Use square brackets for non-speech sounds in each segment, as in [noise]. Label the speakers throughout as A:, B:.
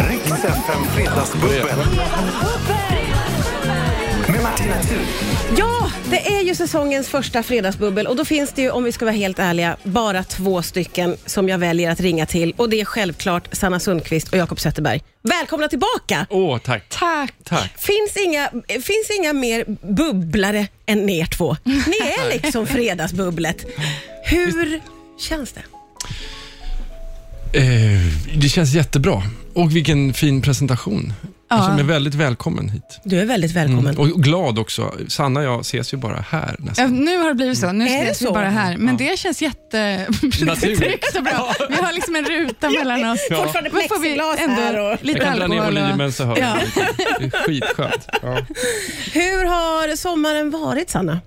A: FM Fredagsbubbel. Med Martina Thun.
B: Ja, det är ju säsongens första fredagsbubbel och då finns det ju, om vi ska vara helt ärliga, bara två stycken som jag väljer att ringa till och det är självklart Sanna Sundqvist och Jakob Zetterberg. Välkomna tillbaka!
C: Åh, tack.
D: Tack.
C: Tack.
B: Finns inga, eh, finns inga mer bubblare än er två. Ni
C: [laughs]
B: är liksom fredagsbubblet. Hur känns det?
C: Eh, det känns jättebra. Och vilken fin presentation.
D: Ja.
C: Jag känner mig väldigt välkommen hit.
B: Du är väldigt välkommen.
C: Mm, Och glad också. Sanna och jag ses ju bara här
D: Ja,
C: nästan.
D: nu har det blivit så. Nu
B: Mm. Är det
D: ses vi
B: så?
D: bara här. Men det känns jätte...
C: [laughs]
D: [laughs]
C: Naturligt.
D: Tryggt och bra. Vi har liksom en ruta mellan oss.
C: Ja.
B: Fortfarande
D: Men får vi
B: plexiglas här och...
C: Jag
D: lite
C: kan dra ner
D: alkohol. och-
C: volymen så hör
D: Ja.
C: jag lite. Det är skitskönt. Ja.
B: Hur har sommaren varit, Sanna?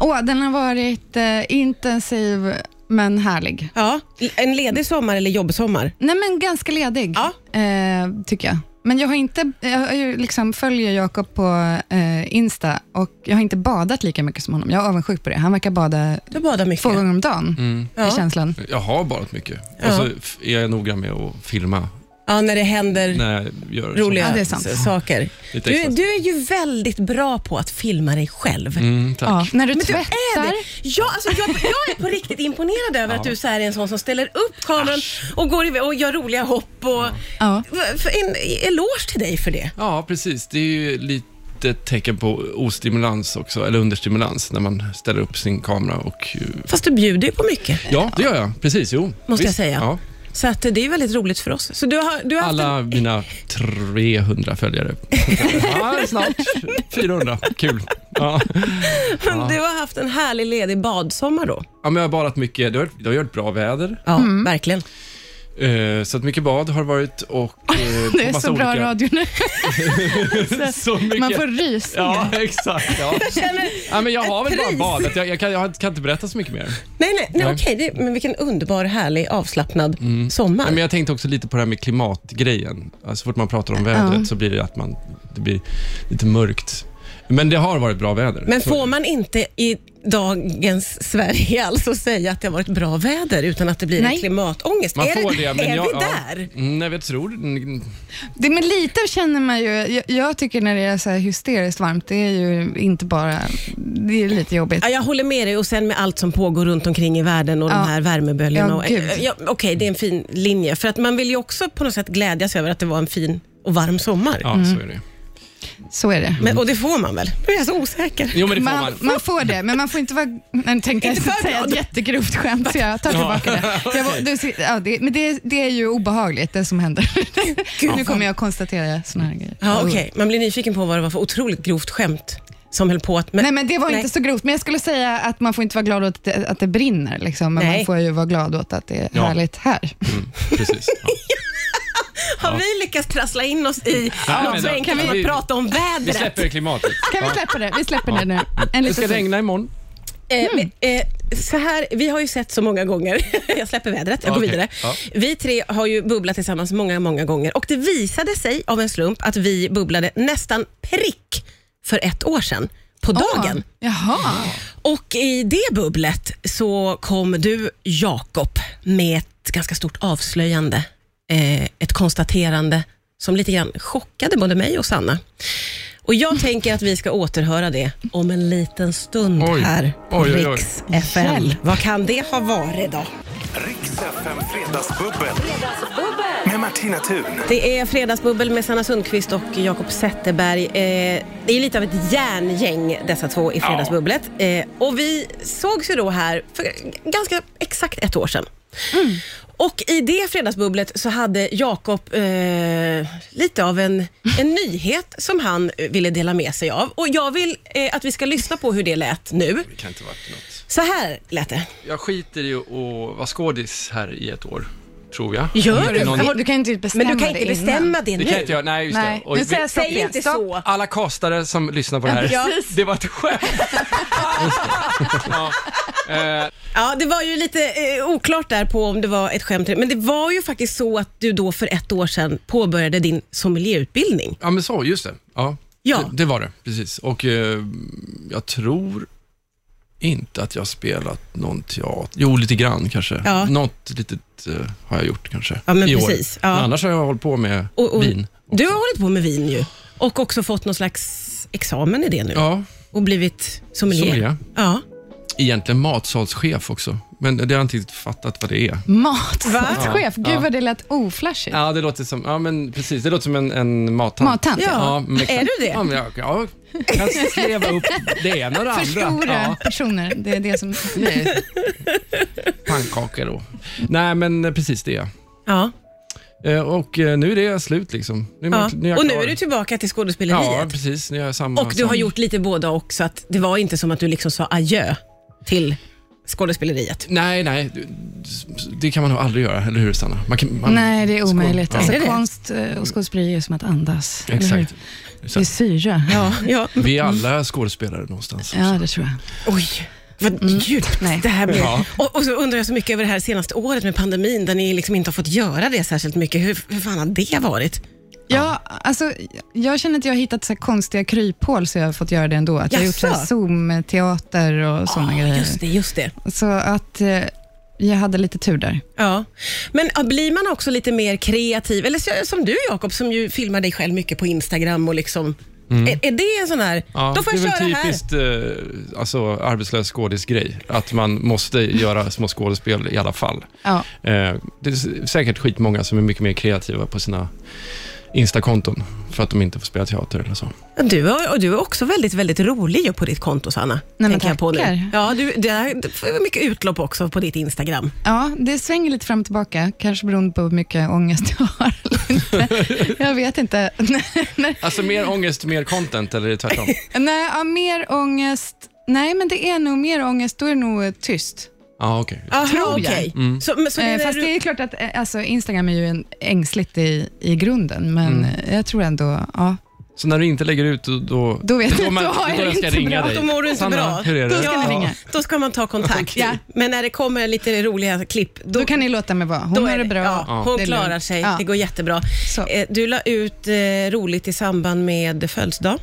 D: Åh, den har varit eh, intensiv men härlig.
B: Ja, en ledig sommar eller jobbsommar?
D: Nej, men ganska ledig,
B: Ja.
D: eh, tycker jag. Men jag har inte, jag har ju liksom följer Jakob på eh, Insta och jag har inte badat lika mycket som honom. Jag är avundsjuk på det. Han verkar bada
B: Du badar mycket.
D: två gånger om dagen,
B: Ja.
D: är känslan.
C: Mm. Jag har badat mycket.
B: Ja.
C: Och så f- är jag noga med att filma
B: Ja, när det händer
C: när jag gör
B: roliga
D: Ja, det är sant.
B: s- saker.
C: Lite
B: Du,
C: extra.
B: du är ju väldigt bra på att filma dig själv.
C: sånt. Mm, tack.
D: Ja, när du
B: Men du är
D: tvättar.
B: det. Jag, alltså, jag, jag är på riktigt imponerad över att du så här är en sån som ställer upp kameran och, går iväg och gör roliga hopp. Och,
D: Ja.
B: För En eloge till dig för det.
C: Ja, precis. Det är ju lite ett tecken på ostimulans också, eller understimulans, när man ställer upp sin kamera och... eh,
B: Fast du bjuder ju på mycket,
C: Ja, det gör jag. Precis, jo.
B: måste jag
C: Visst.
B: säga.
C: Ja.
B: Så att, eh, det är väldigt roligt för oss. Så du har, du har haft en-
C: Alla mina 300 följare.
D: [laughs]
C: Ja, snart 400. Kul. Ja.
B: [laughs] Du har haft en härlig ledig badsommar då.
C: Ja, men jag har badat mycket. Det har, det har varit bra väder,
B: Ja, verkligen.
C: eh, så att mycket bad har det varit. Och, eh,
D: [laughs] Det är
C: massa
D: så bra
C: olika-
D: radio nu.
C: [laughs]
D: [laughs]
C: Så mycket.
D: Man får rysningar.
C: Ja, [laughs] exakt. Ja. Ja, men jag har väl bara badat. Jag, jag, kan, jag kan inte berätta så mycket mer.
B: Nej, nej, nej,
C: Nej.
B: okej. det- Men vilken underbar, härlig, avslappnad sommar.
C: Nej, men jag tänkte också lite på det här med klimatgrejen. Alltså, så fort man pratar om vädret så blir det att man, det blir lite mörkt. Men det har varit bra väder.
B: Men
C: Så-
B: får man inte i dagens Sverige alltså säga att det har varit bra väder utan att det blir en
D: Nej.
B: klimatångest?
C: man
B: är
C: får det, men
B: är
C: jag,
B: vi
C: ja.
B: där?
C: Mm, Nej, jag tror... mm,
D: Det, men lite känner man ju, jag, jag tycker när det är så här hysteriskt varmt, det är ju inte bara, det är lite jobbigt.
B: Ja, jag håller med dig och sen med allt som pågår runt omkring i världen och
D: Ja.
B: de här värmeböljorna.
D: Ja,
B: och- eh,
D: gud.
B: ja, Okej, det är en fin linje. För att man vill ju också på något sätt glädjas över att det var en fin och varm sommar.
C: Ja, så är det.
D: Så är det.
B: Men, och det får man väl? Nu är jag så osäker.
C: Jo, men det får man.
D: Man, man får det, men man får inte vara... Nej, nu tänkte jag
B: Inte för
D: säga
B: glad.
D: ett jättegrovt skämt, så jag tar tillbaka det. Jag, var- du, ser- ja, det men det, det är ju obehagligt, det som händer. [laughs] nu kommer jag konstatera såna här grejer. Oh.
B: Ja, okej. Man blir nyfiken på vad det var för otroligt grovt skämt som höll på att...
D: Nej, men det var
B: Nej.
D: inte så grovt, men jag skulle säga att man får inte vara glad åt att det, att det brinner, liksom. men
B: Nej.
D: man får ju vara glad åt att det är
C: Ja.
D: härligt här.
C: Mm, precis. Ja.
B: Har vi lyckats trassla in oss i
C: Ja,
B: något
C: men
B: så
C: då-
B: enkelt som
C: vi-
B: att prata om
C: Vi
B: vädret?
C: släpper klimatet.
D: Kan vi
C: Ja.
D: släppa det? Vi släpper det nu. En
C: Det
D: liten
C: ska
D: stund.
C: regna imorgon.
B: Eh,
C: Mm.
B: men, eh, så här, vi har ju sett så många gånger, [laughs] jag släpper vädret, jag går
C: Okej,
B: vidare.
C: ja.
B: Vi tre har ju bubblat tillsammans många, många gånger och det visade sig av en slump att vi bubblade nästan prick för ett år sedan på dagen.
D: Ja. Jaha.
B: Och i det bubblet så kom du, Jakob, med ett ganska stort avslöjande. Eh, ett konstaterande som lite grann chockade både mig och Sanna.
C: [laughs]
B: Och jag tänker att vi ska återhöra det om en liten stund
C: Oj.
B: här på
C: Oj, oj, oj.
B: Rix FM. Vad kan det ha varit då?
A: Riks FM Fredagsbubbel. Med Martina Thun.
B: Det är Fredagsbubbel med Sanna Sundqvist och Jakob Zetterberg. Eh, det är lite av ett järngäng dessa två i Fredagsbubblet. Eh, och vi sågs ju då här för ganska exakt ett år sedan.
D: Mm.
B: Och i det Fredagsbubblet så hade Jakob eh, lite av en, en nyhet som han eh, ville dela med sig av. Och jag vill eh, att vi ska lyssna på hur det lät nu.
C: Det kan inte varit något.
B: Så här lät det.
C: Jag skiter i att vara skådis här i ett år, tror jag.
B: Gör
C: du? Någon-
D: Du kan ju inte bestämma
B: Men du kan
D: det
B: inte
D: innan.
B: bestämma det
C: Det kan jag
B: nu.
C: inte göra. Nej, just
D: Nej,
C: det. Och
D: nu
C: vi-
D: säger jag
B: Säg
D: stopp
B: inte
D: igen.
B: så.
C: Alla kastare som lyssnar på det här,
B: Ja.
C: det var ett skämt. Ja. [laughs] Eh,
B: Ja, det var ju lite eh, oklart där på om det var ett skämt. Men det var ju faktiskt så att du då för ett år sedan påbörjade din sommelierutbildning.
C: Ja, men så, just det. Ja,
B: Ja.
C: Det, det var det, precis. Och eh, jag tror inte att jag spelat någon teater. Jo, lite grann kanske.
B: Ja.
C: Något litet eh, har jag gjort kanske.
B: Ja, men
C: I år.
B: precis. Ja.
C: Men annars har jag hållit på med
B: Och, och,
C: vin.
B: Du har hållit på med vin ju och också fått någon slags examen i det nu
C: Ja,
B: och blivit sommelier.
C: Sommelier.
B: Ja.
C: egentligen matsalschef också. Men det har jag inte riktigt fattat vad det är.
D: Matsalschef, gud
C: Ja.
D: vad det lät oflashigt.
C: Ja, det låter som, ja, men precis, det låter som en, en mattant.
D: Mattant, ja.
C: men exakt.
B: Är du det?
C: Ja, men jag, jag kan leva upp det ena och det andra.
D: Förstora
C: Ja,
D: personer, det är det som...
C: pannkakor då. Nej, men eh, precis det. är
B: Ja.
C: jag. Eh, Och eh, nu är det slut liksom. Nu är
B: Ja.
C: man- jag
B: Och nu
C: klar.
B: är du tillbaka till
C: Ja,
B: skådespeleriet.
C: precis. Nu är jag samma,
B: och du har
C: samma-
B: gjort lite båda också, att det var inte som att du liksom sa adjö till skådespeleriet.
C: Nej, nej. du- Det kan man nog aldrig göra, eller hur Sanna? Man kan, man...
D: [laughs] Nej, det är omöjligt.
C: Skål.
D: Alltså,
B: Är det det?
D: konst eh, och skådespeleri är som att andas.
C: Ja,
D: eller hur?
C: [laughs] Exakt.
D: Det är syre.
B: Ja, ja.
C: Vi är alla skådespelare någonstans.
D: Ja, det tror jag.
B: Oj, vad djupt
D: Mm. Nej.
B: det här blir.
C: Ja.
B: Och, och så undrar jag så mycket över det här senaste året med pandemin, där ni liksom inte har fått göra det särskilt mycket. Hur, hur fan har det varit?
D: Ja, alltså, jag känner att jag har hittat så här konstiga kryphål så jag har fått göra det ändå. Att jag har gjort så här
B: Jaså?
D: Zoom-teater och sådana grejer.
B: Just det, just det.
D: Så att eh, jag hade lite tur där.
B: Ja. Men ja, blir man också lite mer kreativ? Eller så- som du Jakob, som ju filmar dig själv mycket på Instagram och liksom... Är, är det en sån här...
C: Mm. Ja,
B: då får
C: det
B: jag
C: är
B: köra
C: väl
B: här.
C: typiskt eh, alltså, arbetslös skådis-grej, att man måste göra små skådespel i alla fall.
D: Ja.
C: Eh, det är s- säkert skitmånga som är mycket mer kreativa på sina Insta-konton för att de inte får spela teater eller så.
B: Du, har, och du är också väldigt, väldigt rolig ju på ditt konto, Sanna.
D: men
B: tänker jag på nu.
D: tackar.
B: Ja, du, det här, du får mycket utlopp också på ditt Instagram.
D: ja, det svänger lite fram och tillbaka. Kanske beroende på hur mycket ångest jag har. eller inte. jag vet inte. [laughs]
C: Alltså mer ångest, mer content, eller är det tvärtom?
D: Nej, ja, mer ångest. Nej, men det är nog mer ångest. Då är det nog eh, tyst.
C: Ja, okej.
B: Aha,
D: Tror jag.
B: okej.
C: Mm.
B: Så, men, så det
D: Eh,
B: är när
D: fast
B: du-
D: det är klart att eh, alltså, Instagram är ju en ängsligt i, i grunden, men eh, jag tror ändå, ja,
C: Så när du inte lägger ut, då... Då,
D: Då vet jag,
C: man-
D: då har jag
C: jag ska
D: inte
C: ringa
D: bra.
C: dig.
B: Då mår du inte
C: Sanna,
B: bra.
C: hur är det?
D: Då ska ni
C: Ja.
D: ringa.
B: Då ska man ta kontakt.
D: Okej.
B: Men när det kommer lite roliga klipp, då,
D: då kan ni låta mig vara. Hon
B: då
D: har det bra.
B: Ja, hon
D: Det är lugnt.
B: klarar sig.
D: Ja.
B: Det går jättebra.
D: Så.
B: Eh, Du la ut eh, roligt i samband med födelsedag.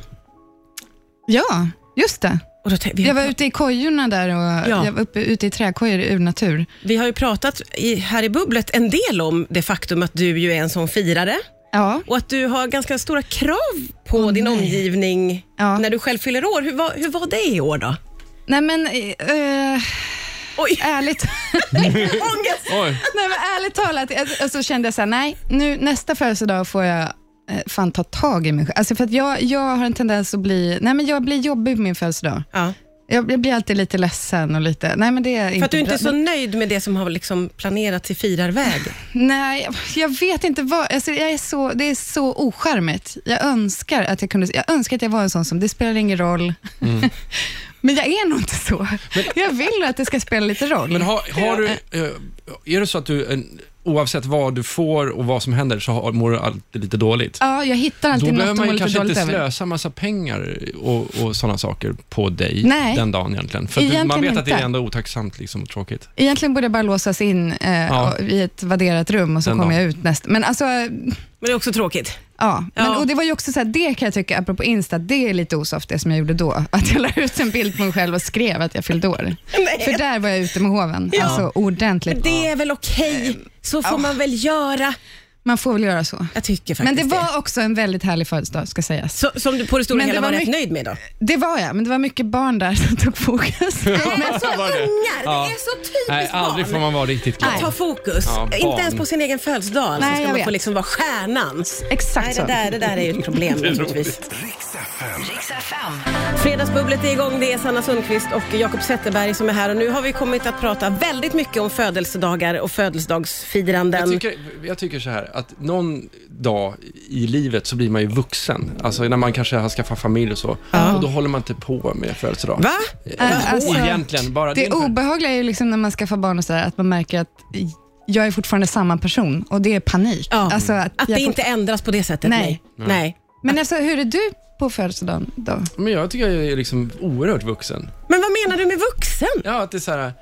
D: Ja, just det.
B: Och då, tänkte- vi,
D: Jag
B: har,
D: var ute i kojorna där och
B: Ja.
D: jag var uppe, ute i trädkojor i urnatur.
B: vi har ju pratat i, här i bubblet en del om det faktum att du ju är en sån firare
D: Ja,
B: och att du har ganska stora krav på din omgivning
D: Ja.
B: när du själv fyller år. Hur var, hur var det i år då?
D: nej men eh, eh, [laughs]
B: Oj,
D: ärligt.
B: ångest!
C: Oj,
D: [laughs] nej, men ärligt talat, jag- och så kände jag så här, nej, nu, nästa födelsedag får jag eh, fan ta tag i mig själv. Alltså för att jag, jag har en tendens att bli, nej men jag blir jobbig på min födelsedag.
B: Ja,
D: Jag, jag blir alltid lite ledsen och lite, nej men det är inte
B: för att du inte
D: bra.
B: är så nöjd med det som har liksom planerats i firarväg.
D: Nej, jag vet inte vad. Alltså jag är så, det är så ocharmigt. Jag önskar, att jag kunde, jag önskar att jag var en sån som, det spelar ingen roll.
C: Mm.
D: [laughs] Men jag är nog inte så. jag vill att det ska spela lite roll.
C: men har, har du... eh, Är det så att du, en, oavsett vad du får och vad som händer, så har, mår du alltid lite dåligt?
D: ja, jag hittar
C: Då
D: alltid
C: behöver
D: något att
C: man ju
D: må lite
C: kanske
D: dåligt
C: inte
D: över.
C: slösa massa pengar och, och sådana saker på dig
D: Nej.
C: den dagen egentligen. För att du, man
D: Egentligen
C: vet att det är
D: inte.
C: ändå otacksamt liksom, och tråkigt.
D: Egentligen borde jag bara låsas in eh,
C: Ja.
D: och- i ett värderat rum och så
C: Den
D: kommer jag
C: dagen.
D: ut nästa. Men alltså, eh,
B: Men det är också tråkigt.
D: ja. Men,
B: Ja.
D: och det var ju också så här, det kan jag tycka, apropå Insta, det är lite osoft det som jag gjorde då. [laughs] Att jag la ut en bild på mig själv och skrev att jag fyllde år.
B: [laughs] Nej.
D: För där var jag ute med hoven,
B: Ja.
D: alltså ordentligt.
B: Men det är väl okej, så får man väl göra.
D: Man får väl göra så.
B: Jag tycker
D: Men
B: faktiskt
D: det var också en väldigt härlig födelsedag, ska sägas.
B: Så, som du på det stora
D: Men det
B: hela var,
D: var
B: rätt
D: mycket-
B: nöjd med då?
D: Det var jag, men det var mycket barn där som tog
B: [laughs]
D: fokus.
B: Men så
C: var det.
B: ungar,
C: Ja.
B: det är så typiskt
C: Nej, aldrig får
B: barn.
C: man vara riktigt glad.
B: Att ta fokus.
C: Ja, barn.
B: inte ens på sin egen födelsedag. Alltså,
D: Nej,
B: ska
D: jag
B: man få
D: vet.
B: liksom vara stjärnan.
D: Exakt
B: Nej, det
D: så.
B: där, det där är ju ett problem naturligtvis.
A: Riks FM.
E: Riks FM.
B: Fredagsbubblet är igång. Det är Sanna Sundqvist och Jakob Zetterberg som är här. Och nu har vi kommit att prata väldigt mycket om födelsedagar och
C: Jag
B: födelsedagsfiranden.
C: tycker, jag tycker så här, att någon dag i livet så blir man ju vuxen. Alltså när man kanske har skaffat familj och så. Och då håller man inte på med födelsedag.
B: Va?
D: Äh, alltså,
C: Egentligen, bara
D: Det
C: det är ungefär-
D: obehagliga är ju liksom när man skaffar barn och sådär, att man märker att jag är fortfarande samma person och det är panik.
B: Ja.
D: Alltså, att
B: Att
D: jag
B: det
D: fort-
B: inte ändras på det sättet?
D: Nej.
B: Nej.
D: Men alltså, hur är du på födelsedagen då?
C: Men jag tycker jag är liksom oerhört vuxen.
B: Men vad menar du med vuxen?
C: Ja, att det är så här,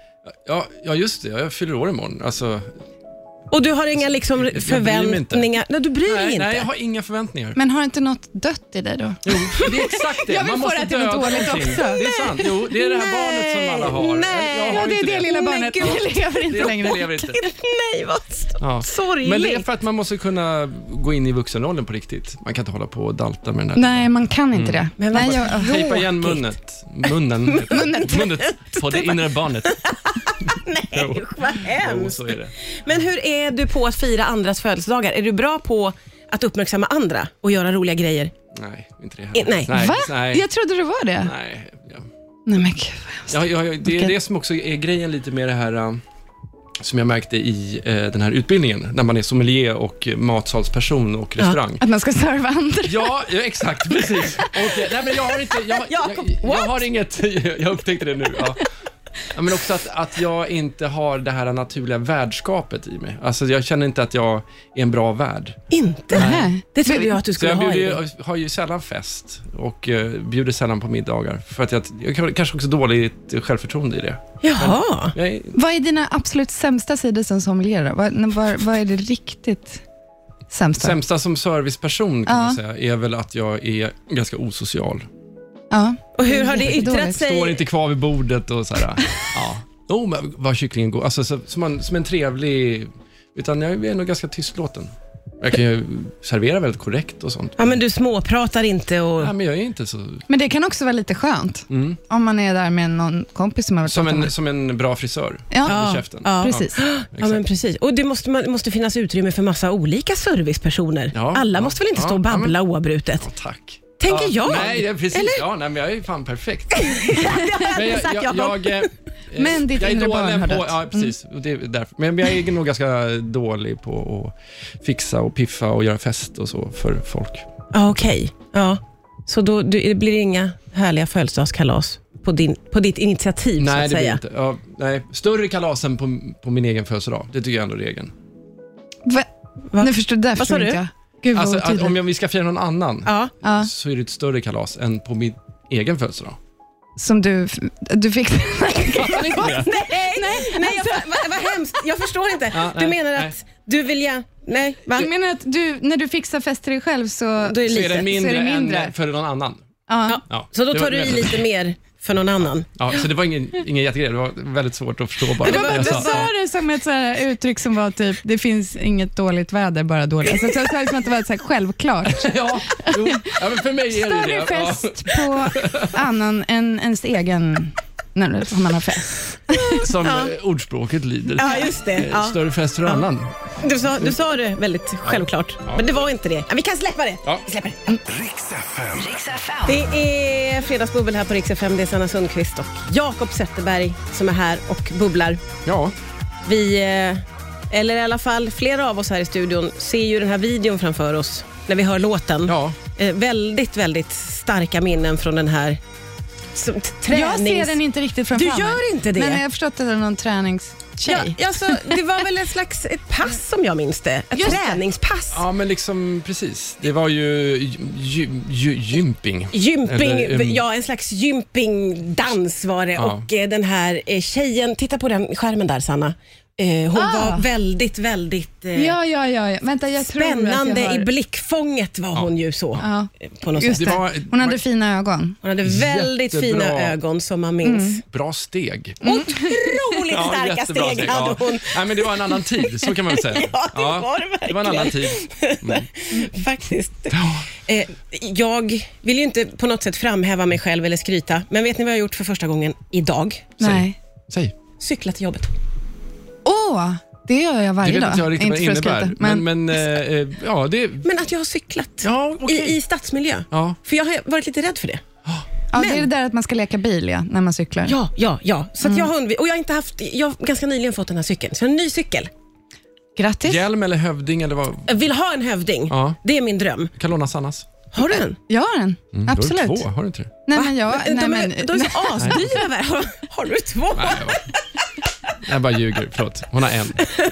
C: ja, ja just det, jag fyller år imorgon. Alltså,
B: Och du har inga liksom
C: jag bryr mig
B: förväntningar? Nej, du bryr dig
C: Nej,
B: inte?
C: nej, jag har inga förväntningar.
D: Men har inte något dött i dig då?
C: Jo, det är exakt det.
D: [laughs] Jag vill
C: Man
D: få
C: måste
D: det till
C: dö
D: något
C: av
D: dåligt
C: någonting.
D: också.
C: Det är sant. Jo, det är det här barnet som alla har.
B: Nej.
C: Jag har
B: Ja,
D: Ja, det är
C: inte
D: det lilla
B: Men
D: barnet.
B: gud.
D: Det lever inte
C: Jo,
D: längre.
C: det lever inte.
B: [laughs] Nej, vad
C: Ja.
B: sorgligt.
C: Men det är för att man måste kunna gå in i vuxenrollen på riktigt. Man kan inte hålla på och dalta med den där.
D: Nej, man kan inte det.
B: Men vad
D: Nej, jag,
C: Tejpa igen munnet. Munnen.
D: [laughs]
C: munnet. munnet. På det inre barnet.
B: Nej, usch, vad
C: Jo,
B: hemskt.
C: så är det.
B: Men hur är du på att fira andras födelsedagar? Är du bra på att uppmärksamma andra och göra roliga grejer?
C: Nej, inte det
B: Eh,
C: här.
B: nej.
C: nej.
D: Va?
C: Nej.
D: Jag trodde det var det.
C: nej. Ja.
D: Nej, men gud vad hemskt.
C: Ja, ja, ja, det är
D: Okej.
C: det som också är grejen lite med det här eh, som jag märkte i eh, den här utbildningen, när man är sommelier och eh, matsalsperson och restaurang.
D: Att man ska serva andra.
C: Ja, ja exakt, precis. Okej, Nej, men jag har inte, jag, jag,
B: Jakob,
C: jag
B: what?
C: har inget, jag upptäckte det nu. Ja. Ja, men också att, att jag inte har det här naturliga värdskapet i mig. Alltså, jag känner inte att jag är en bra värd.
B: Inte?
D: Nej.
B: Det trodde jag att du
C: Så
B: skulle
C: jag
B: ha.
C: bjuder,
B: i dig.
C: ju- har ju sällan fest och eh, bjuder sällan på middagar. För att jag, jag har kanske också dåligt självförtroende i det.
B: Jaha.
C: Jag är
D: Vad är dina absolut sämsta sidor som sommelier? då? Vad, när- vad, vad är det riktigt sämsta?
C: Sämsta som serviceperson kan
D: Ja.
C: man säga är väl att jag är ganska osocial.
D: Ja.
B: Och hur har det yttrat
D: Jättedåligt.
B: sig?
C: Står inte kvar vid bordet och så här.
B: [laughs]
C: ja. Jo, men vad kycklingen går. Alltså så, som, en, som en trevlig... Utan jag är nog ganska tystlåten. Jag kan ju servera väldigt korrekt och sånt.
B: Ja, men du småpratar inte och...
C: Nej, men jag är inte så... mm.
D: Men det kan också vara lite skönt om man är där med någon kompis som har varit
C: Som
D: med.
C: en, som en bra frisör.
D: Ja,
C: i käften.
B: Ja.
D: precis.
B: Ja, men precis. Och det måste, man, måste finnas utrymme för massa olika servicepersoner.
C: Ja,
B: Alla
C: ja,
B: måste väl inte stå
C: ja,
B: och
C: ja, men-
B: babbla oavbrutet?
C: Ja, tack.
B: Tänker
C: ja,
B: jag.
C: Nej, det är precis.
B: Eller? [laughs]
C: Ja, nej, men jag är ju fan perfekt. Men
B: Hade sagt jag.
C: eh,
B: [laughs]
C: eh,
D: Men ditt
C: jag är
D: inre barn
C: dålig på,
D: har dött.
B: Mm.
C: Ja, precis. Och Det är därför. Men jag är nog ganska dålig på att fixa och piffa och göra fest och så för folk.
B: Ja, okej. Ja. Så då du, det blir inga härliga födelsedagskalas på, din, på ditt initiativ, så
C: nej,
B: att
C: det blir
B: säga?
C: inte. Ja, nej. Större kalas än på, på min egen födelsedag. Det tycker jag ändå är regeln.
D: Va?
B: Va?
D: Nu förstår, där förstår
B: sa du?
D: inte jag. Gud vad
C: Alltså,
D: otydligt.
C: att, om jag, vi ska fira någon annan
B: Ja.
D: ja,
C: så är det ett större kalas än på min egen
B: [laughs]
C: födelsedag.
D: som du, du fick.
C: Fattar ni inte det?
B: Nej, nej, nej jag, fa- vad, vad hemskt. Jag förstår inte.
C: Alltså- Ja,
B: du
C: nej,
B: menar
C: nej.
B: att du vill gärna... Nej, va?
D: Du menar att du, när du fixar fest till dig själv så...
B: Då är det
C: Så är det
B: litet.
C: mindre,
D: Så är det mindre.
C: än för någon annan.
D: ja.
C: Ja,
B: Så då
C: det
B: tar
C: var-
B: du i lite mer för någon annan.
C: Ja, så det var ingen, ingen jättegrej. Det var väldigt svårt att förstå bara.
D: Det var,
C: Jag
D: du
C: sa-
D: sa det som ett så här uttryck som var typ, det finns inget dåligt väder, bara dåligt. Alltså, så, så, här som att det var så här självklart.
C: Ja, jo. ja men för mig är det
D: Större
C: det. Ja.
D: fest på annan än ens egen, när man har fest.
C: [laughs] Som eh, ordspråket lyder.
B: Ja, just det.
C: Eh, Större fest för annan.
B: Du, sa, du sa det väldigt självklart,
C: Ja.
B: men det var inte det. Ja, vi kan släppa det.
C: Ja.
B: Vi släpper det.
A: Riks FM.
B: Det är Fredagsbubbel här på Rix FM. Det är Sanna Sundqvist och Jakob Zetterberg som är här och bubblar.
C: Ja,
B: Vi, eh, eller i alla fall flera av oss här i studion, ser ju den här videon framför oss när vi hör låten.
C: ja.
B: Eh, väldigt, väldigt starka minnen från den här som, t-
D: Jag
B: tränings...
D: ser den inte riktigt framför
B: Du
D: mig.
B: gör inte det?
D: Men jag har förstått att det är någon träningstjej.
B: Ja, alltså, det var väl ett slags ett pass som jag minns det. Ett
D: Just det.
B: träningspass.
C: ja, men liksom precis. Det var ju gy, gy, gymping.
B: Gymping,
C: Eller, ehm,
B: ja en slags gympingdans var det
C: Ja.
B: och eh, den här eh, tjejen, titta på den skärmen där Sanna. Eh, Hon
D: Ah.
B: var väldigt, väldigt eh,
D: Ja, ja, ja. ja. Vänta, jag tror att
B: spännande
D: jag har...
B: i blickfånget var hon ju så.
D: Ja,
B: eh, På något
D: just
B: sätt.
C: Det var-
D: det. Hon hade fina ögon.
B: Hon hade väldigt
C: Jättebra.
B: fina ögon som man minns.
D: Mm.
C: Bra steg. Mm.
B: Otroligt starka
C: jättebra
B: steg hade hon.
C: Nej, men det var en annan tid, så kan man väl [laughs] säga.
B: Ja, det var det verkligen.
C: Det var en annan tid. Mm.
B: Faktiskt. Eh, jag vill ju inte på något sätt framhäva mig själv eller skryta, men vet ni vad jag har gjort för första gången idag?
D: Nej.
C: Säg.
B: Cyklat till jobbet.
D: Åh, det gör jag
C: Det
D: varje
C: vet
D: dag.
C: inte jag riktigt vad det
D: för att
C: innebär.
D: skryta,
C: Men, men eh, eh, ja, det...
B: Men att jag har cyklat.
C: Ja,
B: I,
C: okej.
B: I stadsmiljö.
C: Ja.
B: För jag har varit lite rädd för det.
D: ja, Det är det där att man ska leka bil ja, när man cyklar.
B: Ja, ja, ja. Så att jag har undvi- och jag har inte haft, jag har ganska nyligen fått den här cykeln, så jag har en ny cykel.
D: Grattis.
C: Hjälm eller hövding eller vad?
B: Jag vill ha en hövding.
C: Ja.
B: Det är min dröm.
C: Kan låna Sannas.
B: Har du den?
D: Jag har en.
C: Du har ju
D: Absolut.
C: två, har du inte det?
D: Nej, men jag,
B: de, [laughs]
D: nej,
B: är,
D: men,
B: de är så asdyra. Har, har du två?
C: Nej, ja. Jag bara ljuger, förlåt. Hon har en.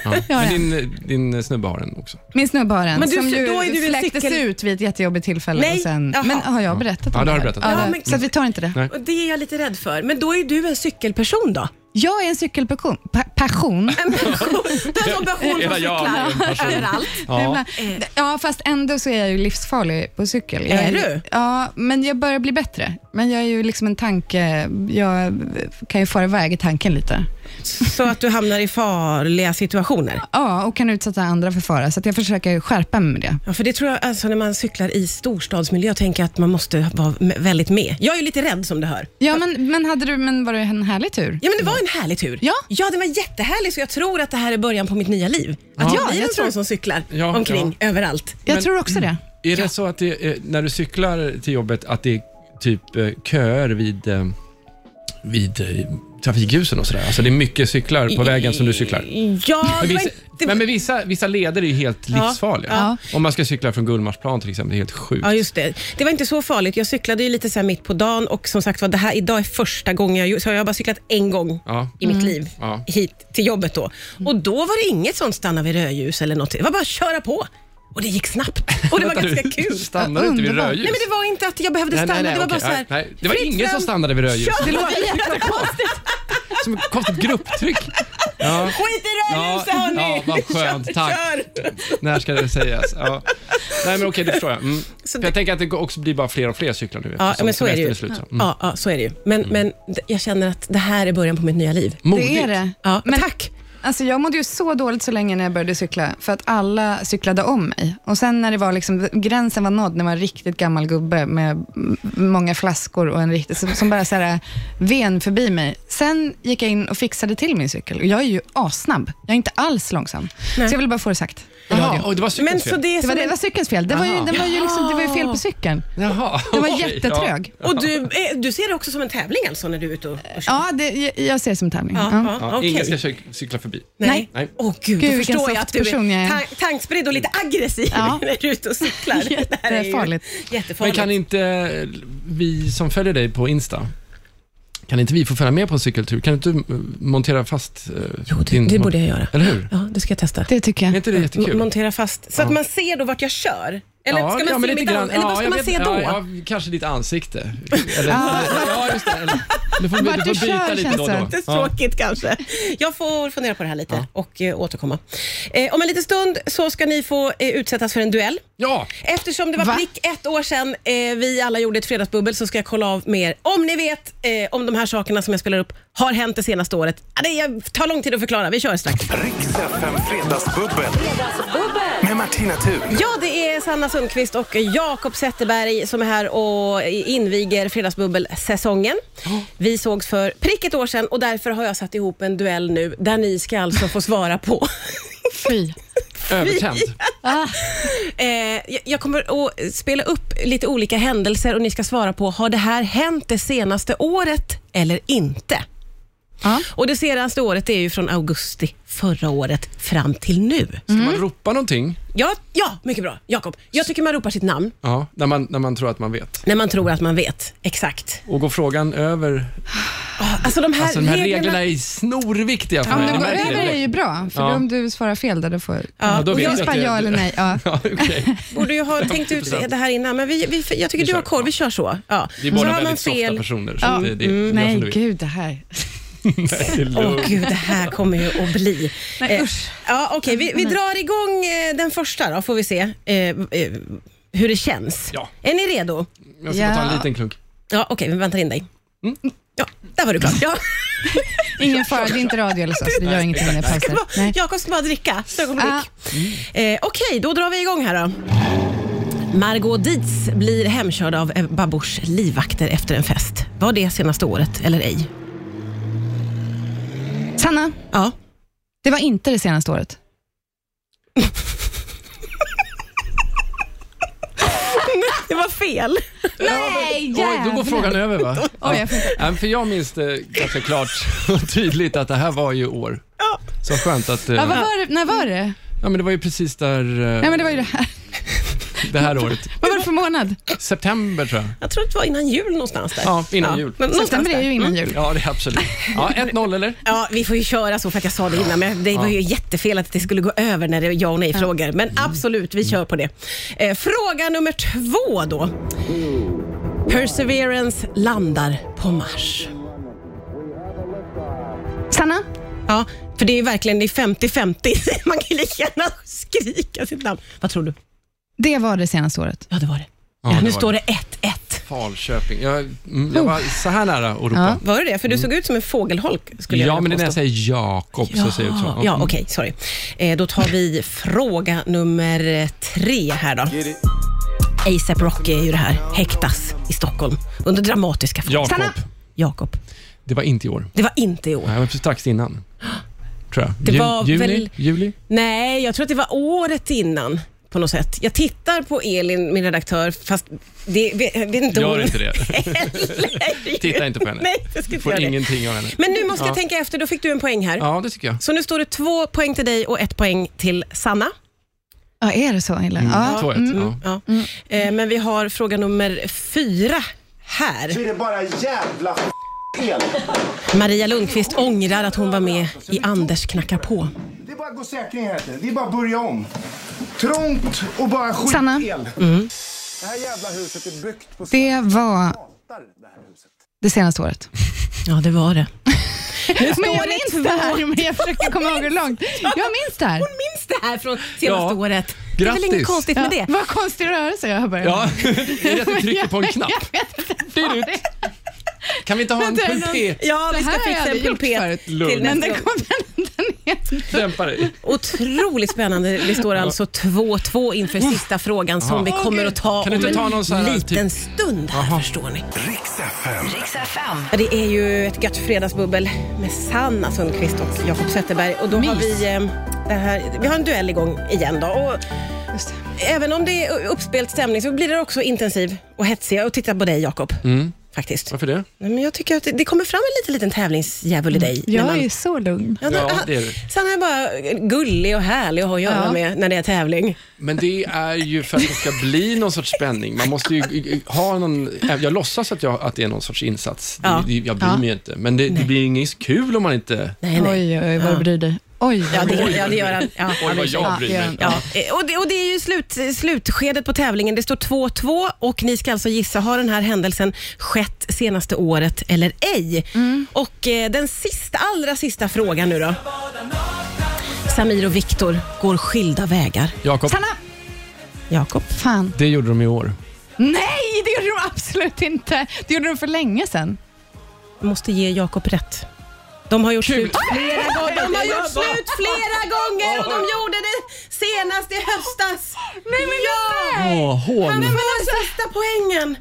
C: Ja.
D: ja.
C: Men din, eh, din snubbe har en också.
D: Min snubbe har en
B: Men du-
D: som ju
B: då är du en
D: släcktes
B: cykel-
D: ut vid ett jättejobbigt tillfälle.
B: Nej,
D: Och sen,
B: jaha.
D: men har jag berättat
C: Ja,
D: om
C: det
D: det?
C: har du
D: här?
C: berättat om.
B: Ja,
D: det-
B: men-
D: Så att vi tar inte det.
C: Nej.
B: Och det är jag lite rädd för. Men då är du en cykelperson då?
D: Jag är en cykelpassion. Pa- passion.
B: En passion. Du är en sån passion som
C: Hela jag är en
B: cyklar
C: passion.
B: överallt.
C: Ja.
D: Ja. ja, fast ändå så är jag ju livsfarlig på cykel. Jag
B: Eh. Är du?
D: Ja, men jag börjar bli bättre. Men jag är ju liksom en tanke... Jag kan ju fara iväg i tanken lite.
B: Så att du hamnar i farliga situationer.
D: Ja, och kan utsätta andra för fara, så att jag försöker skärpa mig med det.
B: Ja, för det tror jag, alltså när man cyklar i storstadsmiljö, tänker jag att man måste vara m- väldigt med. Jag är ju lite rädd som du hör.
D: Ja, men, men, hade du, men var det en härlig tur?
B: Ja, men det var en härlig tur.
D: Ja.
B: ja, den var jättehärlig, så jag tror att det här är början på mitt nya liv. Att
D: Ja,
B: jag blir
D: jag
B: en
D: tror-
B: sån som cyklar
C: Ja,
B: omkring överallt.
D: Jag
C: Men-
D: tror också det.
C: Är det så att det är, när du cyklar till jobbet, att det är typ eh, köer vid, eh, vid eh, trafikljusen och sådär? Alltså det är mycket cyklar på vägen som du cyklar?
B: Ja,
C: Men
B: det var
C: vissa,
B: inte...
C: men men vissa, vissa leder är ju helt
B: Ja,
C: livsfarliga.
D: ja.
C: Om man ska cykla från Gullmarsplan till exempel, det är helt sjukt.
B: Ja, just det. Det var inte så farligt. Jag cyklade ju lite så här mitt på dagen och som sagt var, det här, idag är första gången jag gjort- så jag har bara cyklat en gång
C: Ja.
B: i
D: Mm.
B: mitt liv
C: Ja.
B: hit till jobbet då. Och då var det inget sånt stanna vid rödljus eller något. Det var bara att köra på. Och det gick snabbt. Och det
C: [laughs]
B: var ganska kul.
C: Stannar du inte vid
D: Underbart.
C: rödljus?
B: Nej, men det var inte att jag behövde
C: Nej, nej,
B: stanna.
C: nej,
B: det var
C: okej.
B: bara så här,
C: Nej, nej. Det var
B: fritt
C: ingen som stannade vid rödljus.
B: Kör!
C: Det
B: Det
C: låter
B: jättekonstigt.
C: Som ett konstigt grupptryck. Ja.
B: Skit i
C: Ja,
B: rödljuset hörni!
C: ja, vad skönt. Tack.
B: Kör.
C: När ska det sägas? Ja. Nej, men okej, det förstår jag. Mm. För
B: det-
C: jag tänker att det också blir bara fler och fler cyklar nu.
B: Ja,
C: eftersom
B: men så är det ju.
C: semestern slut, så. Mm.
B: Ja, ja, så är det ju. Men, men d- jag känner att det här är början på mitt nya liv.
C: Modigt.
D: Det är det.
B: Ja,
D: Men-
B: tack!
D: Alltså jag mådde ju så dåligt så länge när jag började cykla, för att alla cyklade om mig. Och sen när det var liksom, gränsen var nådd, när man var en riktigt gammal gubbe med m- många flaskor och en riktig, som, som bara så här, ven förbi mig. Sen gick jag in och fixade till min cykel. Och jag är ju assnabb. Jag är inte alls långsam. Så jag ville bara få det sagt.
C: Jaha, oj, det var cykelns
B: Men så
C: fel.
B: det är
D: Det var,
B: som
D: det
B: en-
D: var cykelns fel. Det var, ju,
C: Jaha.
D: det, var ju liksom, det var ju fel på cykeln.
C: Jaha.
D: Den var
C: oj,
D: jättetrög.
C: Ja.
B: Och du, eh, du ser det också som en tävling alltså när du är ute och, och kör?
D: Ja, det, jag- jag ser det som tävling. Ja.
B: ja,
C: Ja,
B: okej.
C: Ingen ska cy- cykla förbi.
B: Nej.
C: Nej.
B: Åh gud,
D: Gud,
B: då
D: vilken
B: förstår jag
D: soft
B: att du är,
D: person jag är.
B: ta- tankspridd och lite aggressiv
D: Ja.
B: [laughs] när du är ute och cyklar. Det här är ju
D: Jättefarligt.
C: Men
B: Jättefarligt.
C: kan inte vi som följer dig på Insta, kan inte vi få följa med på en cykeltur? Kan inte du eh, montera fast eh,
B: jo, det,
C: din...
B: det borde jag göra.
C: Eller hur?
B: Ja, det ska jag testa.
D: Det tycker
C: Är
D: jag.
C: inte det
B: M-
C: jättekul?
B: montera fast, så att
C: Ja.
B: man ser då vart jag kör. Eller
C: Ja,
B: ska
C: ja,
B: man
C: men
B: se
C: lite
B: mitt
C: grann.
B: an- Eller vad
C: Ja,
B: ska
C: jag
B: man
C: vet-
B: se då? Ah.
C: Ja, ja, kanske ditt ansikte. Eller, ja, just det. Eller, du får,
D: Vart
C: du
D: du
C: får byta
D: kör,
C: lite
D: känns
C: då och
D: det.
C: då.
B: lite
C: Ja.
B: tråkigt kanske. Jag får fundera på det här lite och eh, återkomma. Eh, om en liten stund så ska ni få eh, utsättas för en duell.
C: Ja,
B: Eftersom det var
D: Va?
B: prick ett år sedan eh, vi alla gjorde ett fredagsbubbel så ska jag kolla av med er om ni vet eh, om de här sakerna som jag spelar upp har hänt det senaste året. Ah, Det är- tar lång tid att förklara. Vi kör strax.
A: Riks FM Fredagsbubbel. Med Martina Thun.
B: Ja, det är Sanna Sundqvist och Jakob Zetterberg som är här och inviger Fredagsbubbel-säsongen. Vi sågs för prick ett år sedan och därför har jag satt ihop en duell nu där ni ska alltså få svara på.
D: Fy.
C: övertänd.
D: Ah,
B: Eh, jag- jag kommer att spela upp lite olika händelser och ni ska svara på, har det här hänt det senaste året eller inte?
D: Ja.
B: Och Det senaste året är ju från augusti förra året fram till nu.
C: Ska man ropa någonting
B: Ja, ja mycket bra. Jakob, jag tycker man ropar sitt namn
C: ja, när, man, när man tror att man vet?
B: när man tror att man vet exakt.
C: Och går frågan över...
B: Alltså de här,
C: Alltså de här reglerna,
B: reglerna...
C: är snorviktiga för
D: Om
C: mig.
D: du
C: Jag
D: går
C: märker
D: över
C: det.
D: är ju bra, för
C: Ja.
D: om du svarar fel där, då får
C: Ja, då
D: och
C: vet
D: jag
C: jag
D: bara
C: att
D: ja
C: jag-
D: eller nej. Ja.
C: Ja, okej.
B: borde ju ha tänkt ut
C: 50%.
B: det här innan, men vi, vi, jag tycker
C: Vi
B: du har
C: kör,
B: koll.
C: ja.
B: Vi kör så. Ja.
C: Vi är
B: så
C: båda
B: har man
C: väldigt softa
B: fel.
C: personer. Så
D: Ja.
C: det, det, mm.
D: Nej, gud det här.
C: [laughs] Det är
B: Åh
C: lugnt.
B: gud, det här kommer ju att bli...
D: Nej,
B: Eh,
D: usch.
B: Ja, okej, vi,
C: Mm.
B: vi drar igång eh, den första då, får vi se eh, eh, hur det känns.
C: Ja.
B: Är ni redo?
C: Jag ska bara ta en
D: Ja.
C: liten klunk.
B: Ja, okej, vi väntar in dig.
C: Mm.
B: Ja, där var du klar.
C: [laughs]
B: Ja,
D: Ingen fara, det är inte radio eller så, så det gör ingenting med pauser. Nej. Ah,
B: Jakob ska bara dricka. Ett ögonblick. Eh, okej, då drar vi igång här då. Margot Dietz blir hemkörd av eh, Babors livvakter efter en fest. Var det senaste året eller ej?
D: Sanna,
B: Ja.
D: det var inte det senaste året.
B: Det var fel.
D: Nej,
C: Oj, då går frågan över [laughs] va?
D: Oj, jag får inte-
C: Ja, för jag minns det ganska klart och tydligt att det här var ju år. Så skönt att... eh,
D: Ja, vad var det? När var det?
C: Ja, men det var ju precis där... eh,
D: Nej, men det var ju det här.
C: det här året.
D: Vad var det för månad?
C: September tror jag.
B: Jag tror att det var innan jul någonstans där.
C: Ja, innan jul.
B: Men någonstans
D: September är
B: där.
D: ju innan jul.
C: Ja, det är absolut. Ja, 1-0 eller?
B: Ja, vi får ju köra så för att jag sa det innan, men det var ju jättefel att det skulle gå över när det är ja Mm. och nej-frågor. Men absolut, vi kör på det. Eh, fråga nummer två då. Perseverance landar på Mars.
D: Sanna?
B: Ja, för det är ju verkligen det är 50-50. [laughs] Man kan lika gärna skrika sitt namn. Vad tror du?
D: Det var det senaste året.
B: Ja, det var det.
C: Ja,
B: Ja,
C: det
B: nu
C: var
B: står det 1-1.
C: Falköping. Jag, mm, jag var så här nära att ropa.
D: Ja.
B: Var det det? För du såg ut som en fågelholk. Skulle
C: Mm. Ja,
B: jag vilja
C: men det är när jag
B: påstå.
C: säger Jakob så säger jag ut så.
B: Ja, okej, sorry. Eh, då tar vi fråga nummer tre här då. ASAP Rocky är ju det här, häktas i Stockholm under dramatiska förhållanden.
C: Mm. Jakob.
D: Stanna.
B: Jakob.
C: Det var inte i år.
B: Det var inte i år.
C: Nej, det var strax innan. Tror jag.
B: Det var
C: juni?
B: väl-
C: Juli?
B: Nej, jag tror att det var året innan på något sätt. Jag tittar på Elin, min redaktör, fast det vet, vet inte
C: Gör
B: hon
C: inte det.
B: heller.
C: Titta inte på henne.
B: Nej, jag ska inte
C: Får
B: göra det.
C: ingenting av henne.
B: Men nu måste
C: Ja.
B: jag tänka efter, då fick du en poäng här.
C: Ja, det tycker jag.
B: Så nu står det två poäng till dig och ett poäng till Sanna.
D: Ja, är det så illa? Ja.
C: 2-1. Mm, Ja.
B: Ja.
D: Mm.
B: Eh, Men vi har fråga nummer fyra här.
E: blir det bara jävla fel.
B: Maria Lundqvist ångrar att hon var med i Anders knackar på.
E: Det är bara att gå säkring heter det. Det är bara att börja om. Trångt och bara skit
D: Sanna.
E: Det här jävla huset är byggt på
D: Det var
E: satan, det här huset.
D: det senaste året.
B: Ja, det var det.
D: Men
B: står
D: jag
B: det
D: minns det här, [laughs] men jag försöker komma ihåg hur långt. Jag minns det här.
B: Hon minns det här från senaste
C: Ja.
B: året. Det är väl
C: Grattis.
B: inget konstigt med det?
D: Ja, vad konstig rörelse jag har börjat med. [laughs]
C: Ja, [laughs] det är att du trycker på en knapp.
D: Jag vet inte vad
C: Dyrut.
D: det-
C: Kan vi inte ha en
D: Vänta, är det
C: pulpet?
B: Ja, vi
D: Det
B: ska
D: här har jag
B: fixa en
D: aldrig gjort
B: pulpet
D: förut.
B: till
C: Lugn.
D: Men
B: nästa
D: den
B: gång.
D: kom den igen.
C: Dämpa dig.
B: Otroligt spännande. Det står alltså 2-2 inför sista frågan som vi kommer att ta
C: Kan du
B: om
C: inte
B: en
C: ta någon så här typ-
B: liten stund här, förstår ni.
A: Riks FM.
B: Ja, Det är ju ett gött fredagsbubbel med Sanna Sundqvist och Jakob Zetterberg. Och då har
D: Mys.
B: vi, eh, det här, vi har en duell igång igen. Då. Och även om det är uppspelt stämning så blir det också intensiv och hetsig. Och titta på dig Jakob,
C: Mm.
B: faktiskt.
C: Varför det?
B: Nej, Men jag tycker att det- det kommer fram en liten, liten tävlingsdjävul i
C: Mm.
B: dig. när
D: Jag
B: man-
D: är så lugn.
B: Ja,
C: Ja,
B: han-
C: det är du.
B: Sanna är bara gullig och härlig att ha att göra
D: Ja.
B: med när det är tävling.
C: Men det är ju för att det ska bli någon sorts spänning. Man måste ju ha någon... Jag låtsas att, jag, att det är någon sorts insats. Det-
B: Ja.
C: det- Jag bryr mig ju inte. Men det, det blir inget kul om man inte...
B: Nej, nej.
D: Oj, oj, vad du bryr dig. Oj,
B: Ja,
D: vad du bryr
B: det,
D: dig.
B: ja, det gör han. Ja,
C: Oj,
B: han
C: vad
B: bryr sig.
C: jag bryr
D: Ja,
C: mig.
D: ja.
B: Eh, Och det, och det är ju slut, slutskedet på tävlingen. Det står 2-2 och ni ska alltså gissa, har den här händelsen skett senaste året eller ej?
D: Mm.
B: Och eh, den sista, allra sista frågan nu då. Samir och Viktor går skilda vägar.
C: Jakob,
D: Sanna!
B: Jakob?
D: Fan.
C: det gjorde de i år.
D: Nej, det gjorde de absolut inte. Det gjorde de för länge sedan.
B: Måste ge Jakob rätt. De har gjort slut flera
C: Ah!
B: gånger. De har gjort slut flera gånger och de gjorde det senast i höstas. Nej men ja!
C: Åh, hån.
B: Han får sista poängen.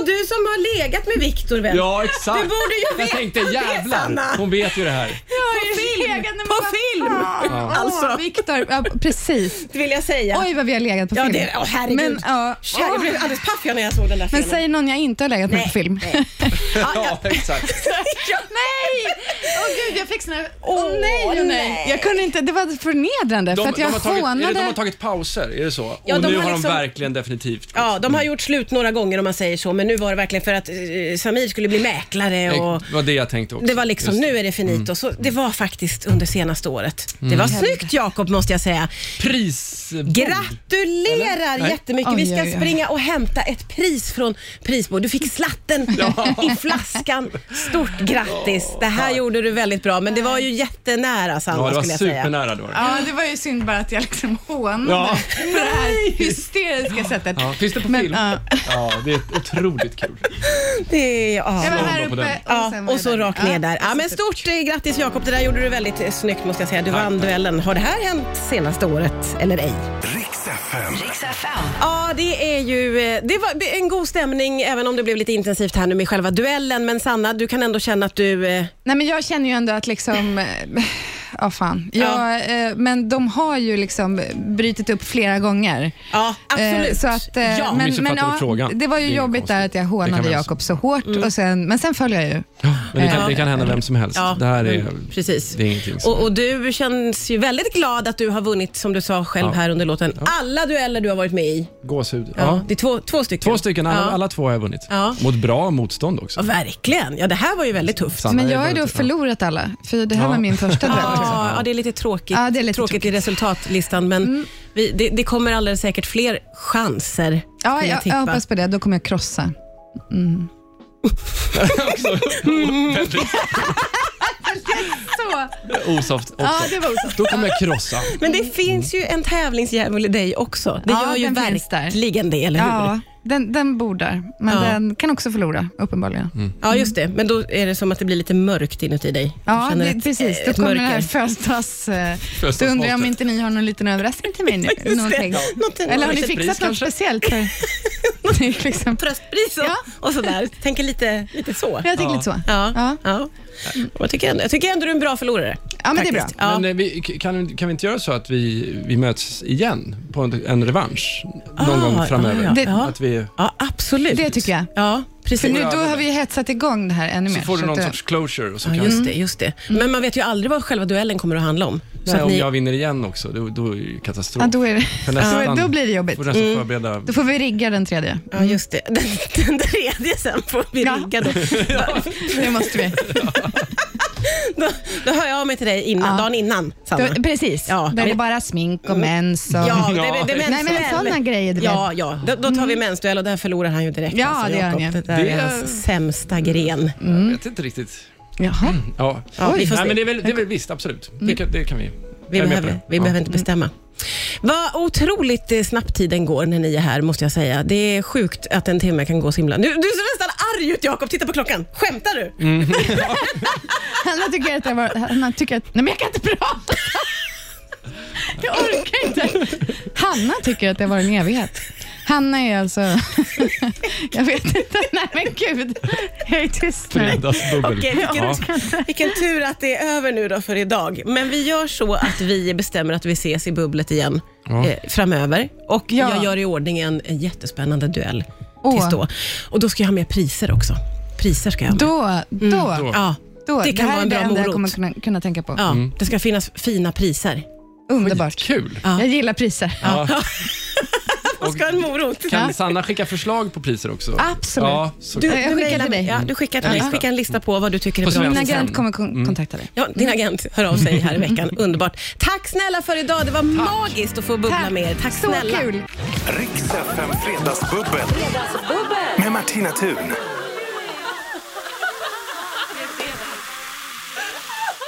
B: Och du som har legat med Viktor vän.
C: Ja, exakt.
B: Du borde ju
C: jag
B: veta
C: tänkte
B: det,
C: jävlar,
B: Sanna."
C: hon vet ju det här.
D: På
B: På film!
D: Ah.
B: Alltså,
D: Viktor, ja, precis.
B: det vill jag säga.
D: Oj, vad vi har legat på
B: ja,
D: film.
B: det, åh, herregud.
D: Men, ja.
B: Shit, Jag blev alldeles paff jag när jag såg den där
D: Men
B: filmen.
D: säg någon jag inte har legat med på film.
B: Nej. Ja, ja.
C: [laughs] Ja, exakt.
B: Ja.
D: Nej! Åh gud, jag fick såna här...
B: Åh,
D: nej, åh, nej.
B: nej.
D: Jag kunde inte, det var förnedrande för att jag
C: har tagit, är det, de har
D: hånade.
C: tagit pauser, är det så?
B: Ja,
C: och
B: de
C: nu
B: har
C: har de
B: liksom-
C: verkligen definitivt gått.
B: Ja, de har gjort slut några gånger om man säger så, men nu var det verkligen för att eh, Samir skulle bli mäklare och
C: Det var det jag tänkte också.
B: det var liksom,
C: Just Mm.
B: nu är det finito. Så det var faktiskt under senaste året. Det var snyggt Jakob måste jag säga.
C: Pris...
B: Gratulerar jättemycket.
D: Oj,
B: Vi ska
D: oj, oj.
B: springa och hämta ett pris från prisbord.
C: [laughs]
B: Du fick slatten i flaskan. Stort grattis. Det här gjorde du väldigt bra, men det var ju jättenära Sanna
C: Ja, det var
B: skulle jag säga.
C: supernära. Det var. det.
D: Ja, det var ju synd bara att jag liksom hånade
C: Ja.
D: på det här hysteriska sättet.
C: Ja, finns det på
D: Men,
C: film? Alltså,
D: ja.
C: Ja, det är otroligt kul.
B: Det är,
D: Jag var
B: ja.
C: bra
D: här
C: på
D: uppe
C: den.
B: Ja,
D: sen var
B: och
D: jag
B: så
D: där.
B: rakt
D: Ja.
B: ner där. Ja, men stort eh, grattis Jakob, det där gjorde du väldigt eh, snyggt måste jag säga. Du vann duellen. Har det här hänt senaste året eller ej?
A: Riks FM.
B: Ja, det är ju eh, det var det är en god stämning även om det blev lite intensivt här nu med själva duellen. Men Sanna, du kan ändå känna att du... eh,
D: Nej, men jag känner ju ändå att liksom... eh, ja fan. Ja, Eh, men de har ju liksom brutit upp flera gånger.
B: Ja, absolut.
D: Eh, så att, eh,
B: Ja.
D: men, men,
C: Missuppfattade frågan.
D: det var
C: Det är
D: ju
C: ju
D: jobbigt
C: konstigt.
D: där att jag
C: Det kan
D: hånade
C: vara
D: Jakob så hårt,
B: Mm.
D: och sen, men sen följer jag ju.
C: Men det kan, det kan hända vem som helst.
B: Ja,
C: det här är,
B: men Mm, precis.
C: Det är ingenting som...
B: Och, och du känns ju väldigt glad att du har vunnit, som du sa själv
C: Ja.
B: här under låten, alla dueller du har varit med i.
C: Gåshud. Ja.
B: Ja. Det är två, två stycken.
C: Två stycken, alla,
B: Ja.
C: alla två har jag vunnit.
B: Ja.
C: Mot bra motstånd också.
B: Ja, verkligen. Ja, det här var ju väldigt tufft.
C: Sanna
D: Men jag har ju
C: väldigt-
D: då
C: ja.
D: förlorat alla, för det här
C: Ja.
D: var min första liksom. duell.
B: Ja, ja, det är lite tråkigt,
D: Ja, det är lite Mm.
B: tråkigt, i resultatlistan, men vi, det, det kommer alldeles säkert fler chanser.
D: Ja,
B: skulle
D: jag, jag
B: tippa.
D: hoppas på det. Då kommer jag krossa. Mm. [laughs] Så.
C: Osoft också.
D: Ja, det var osoft.
C: Då kommer jag krossa.
B: Men det finns ju en tävlingsdjävul i dig också. Det
D: Ja,
B: gör ju
D: den finns där.
B: verkligen det, eller hur?
D: Ja, den, den bor där, men
B: Ja.
D: den kan också förlora, uppenbarligen.
B: Ja, just det. Men då är det som att det blir lite mörkt inuti dig.
D: Mm. Ja,
B: Du känner
D: det,
B: ett-
D: precis. Då
B: ett
D: kommer
B: [laughs]
D: det
B: mörker.
D: här födelsedags... eh, Då
C: Födelsedagsmatet.
D: undrar jag om inte ni har någon liten överraskning till mig nu.
B: det.
D: någonting.
B: Någonting.
D: Eller har ni
B: Ett
D: fixat
C: pris
D: något
C: kanske?
D: speciellt? För, [laughs] det är liksom,
B: Tröstpris och, och sådär. Tänker lite, lite så.
D: jag tänker lite så.
B: Ja. ja.
D: Ja.
B: Jag, tycker ändå, jag tycker ändå du är en bra förlorare.
D: Ja, men det är bra.
B: faktiskt. Ja.
C: Men eh, vi, kan, kan vi inte göra så att vi, vi möts igen på en, en revansch någon
B: Ah,
C: gång framöver?
B: ja, ja, ja.
C: Att vi,
B: ja, absolut.
D: Det tycker jag.
B: Ja,
D: För
B: precis.
D: nu, då har vi hetsat igång det här ännu mer.
C: så får du
D: att
C: någon
D: då-
C: sorts closure. Och så
B: Ja,
C: kan,
B: just det, just det. Men man vet ju aldrig vad själva duellen kommer att handla om.
C: nej,
B: att
C: om
B: ni-
C: jag vinner igen också, då, då är det ju katastrof.
D: [laughs] ja, då, är det,
C: För nästan-
D: då, då blir det jobbigt.
C: Får nästan
B: Mm.
C: förbereda.
D: Då får vi rigga den tredje.
B: Ja, just det. [laughs] Den, den tredje sen får vi
D: Ja.
B: rigga då.
D: Det måste vi.
B: då. Då hör jag av mig till dig innan,
D: Ja.
B: dagen innan, Sanna.
D: Då, precis.
B: Ja,
D: då är
B: vi-
D: det bara smink och mens och...
B: Ja, det, det, det är
D: Nej, men
B: mensduell.
D: sådana grejer, du vet.
B: Ja, ja. Då, då tar vi mensduell och där förlorar han ju direkt.
D: Ja,
B: alltså,
D: det gör han
B: Jakob.
D: ju.
B: Det där
C: Det-
B: är hans sämsta gren.
C: Jag vet inte riktigt.
D: Jaha.
C: Ja.
B: mm. Ja, vi får se.
C: Nej,
B: Mm.
C: men det är väl, det är väl visst, absolut. Det, kan, det kan vi.
B: Vi,
C: jag är med
B: behöver,
C: på det.
B: vi
C: Ja.
B: behöver inte bestämma. Vad otroligt eh, snabbt tiden går när ni är här, måste jag säga. Det är sjukt att en timme kan gå så himla... Nu, du ser nästan arg ut, Jakob. Titta på klockan. Skämtar du?
D: Hanna tycker att jag var... Hanna tycker att... Nej, men jag kan inte prata! [laughs] Jag orkar inte. Hanna tycker att det var en evighet. Hanna är alltså... [laughs] jag vet inte. Nej, men gud. Jag är tyst nu.
C: Fredagsbubbel.
B: Okej, vilken,
C: ja.
B: vilken tur att det är över nu då för idag. Men vi gör så att vi bestämmer att vi ses i bubblet igen
C: Ja.
B: eh, framöver. Och
D: Ja.
B: jag gör i ordning en, en jättespännande duell
D: Åh.
B: tills då. Och då ska jag ha med priser också. Priser ska jag ha med.
D: Då, då,
C: då.
B: Ja,
D: då.
B: Mm. Det kan
D: här
B: vara en
D: är
B: bra
D: det enda jag
B: morot.
D: kommer kunna, kunna tänka på.
B: ja. Det ska finnas fina priser.
D: Underbart.
C: Kul.
B: Ja.
D: Jag gillar priser.
B: Man ska ha en morot.
C: Kan Sanna skicka förslag på priser också?
D: Absolut.
C: Ja, så
D: Jag skickar
B: mejlar
D: till
B: mig.
D: dig.
B: Ja, du skickar till mig.
C: Ja.
B: Skicka en lista på vad du tycker är
C: På
B: bra.
C: svenska.
D: Min
C: Sen-
D: agent kommer
B: Mm.
D: kon- kontakta dig.
B: Ja, din agent hör av sig här i veckan. Underbart. Tack snälla för idag. Det var magiskt att få bubbla med er. Tack
D: Så
B: snälla.
D: kul.
A: Riks FM Fredagsbubbel. Med Martina Thun.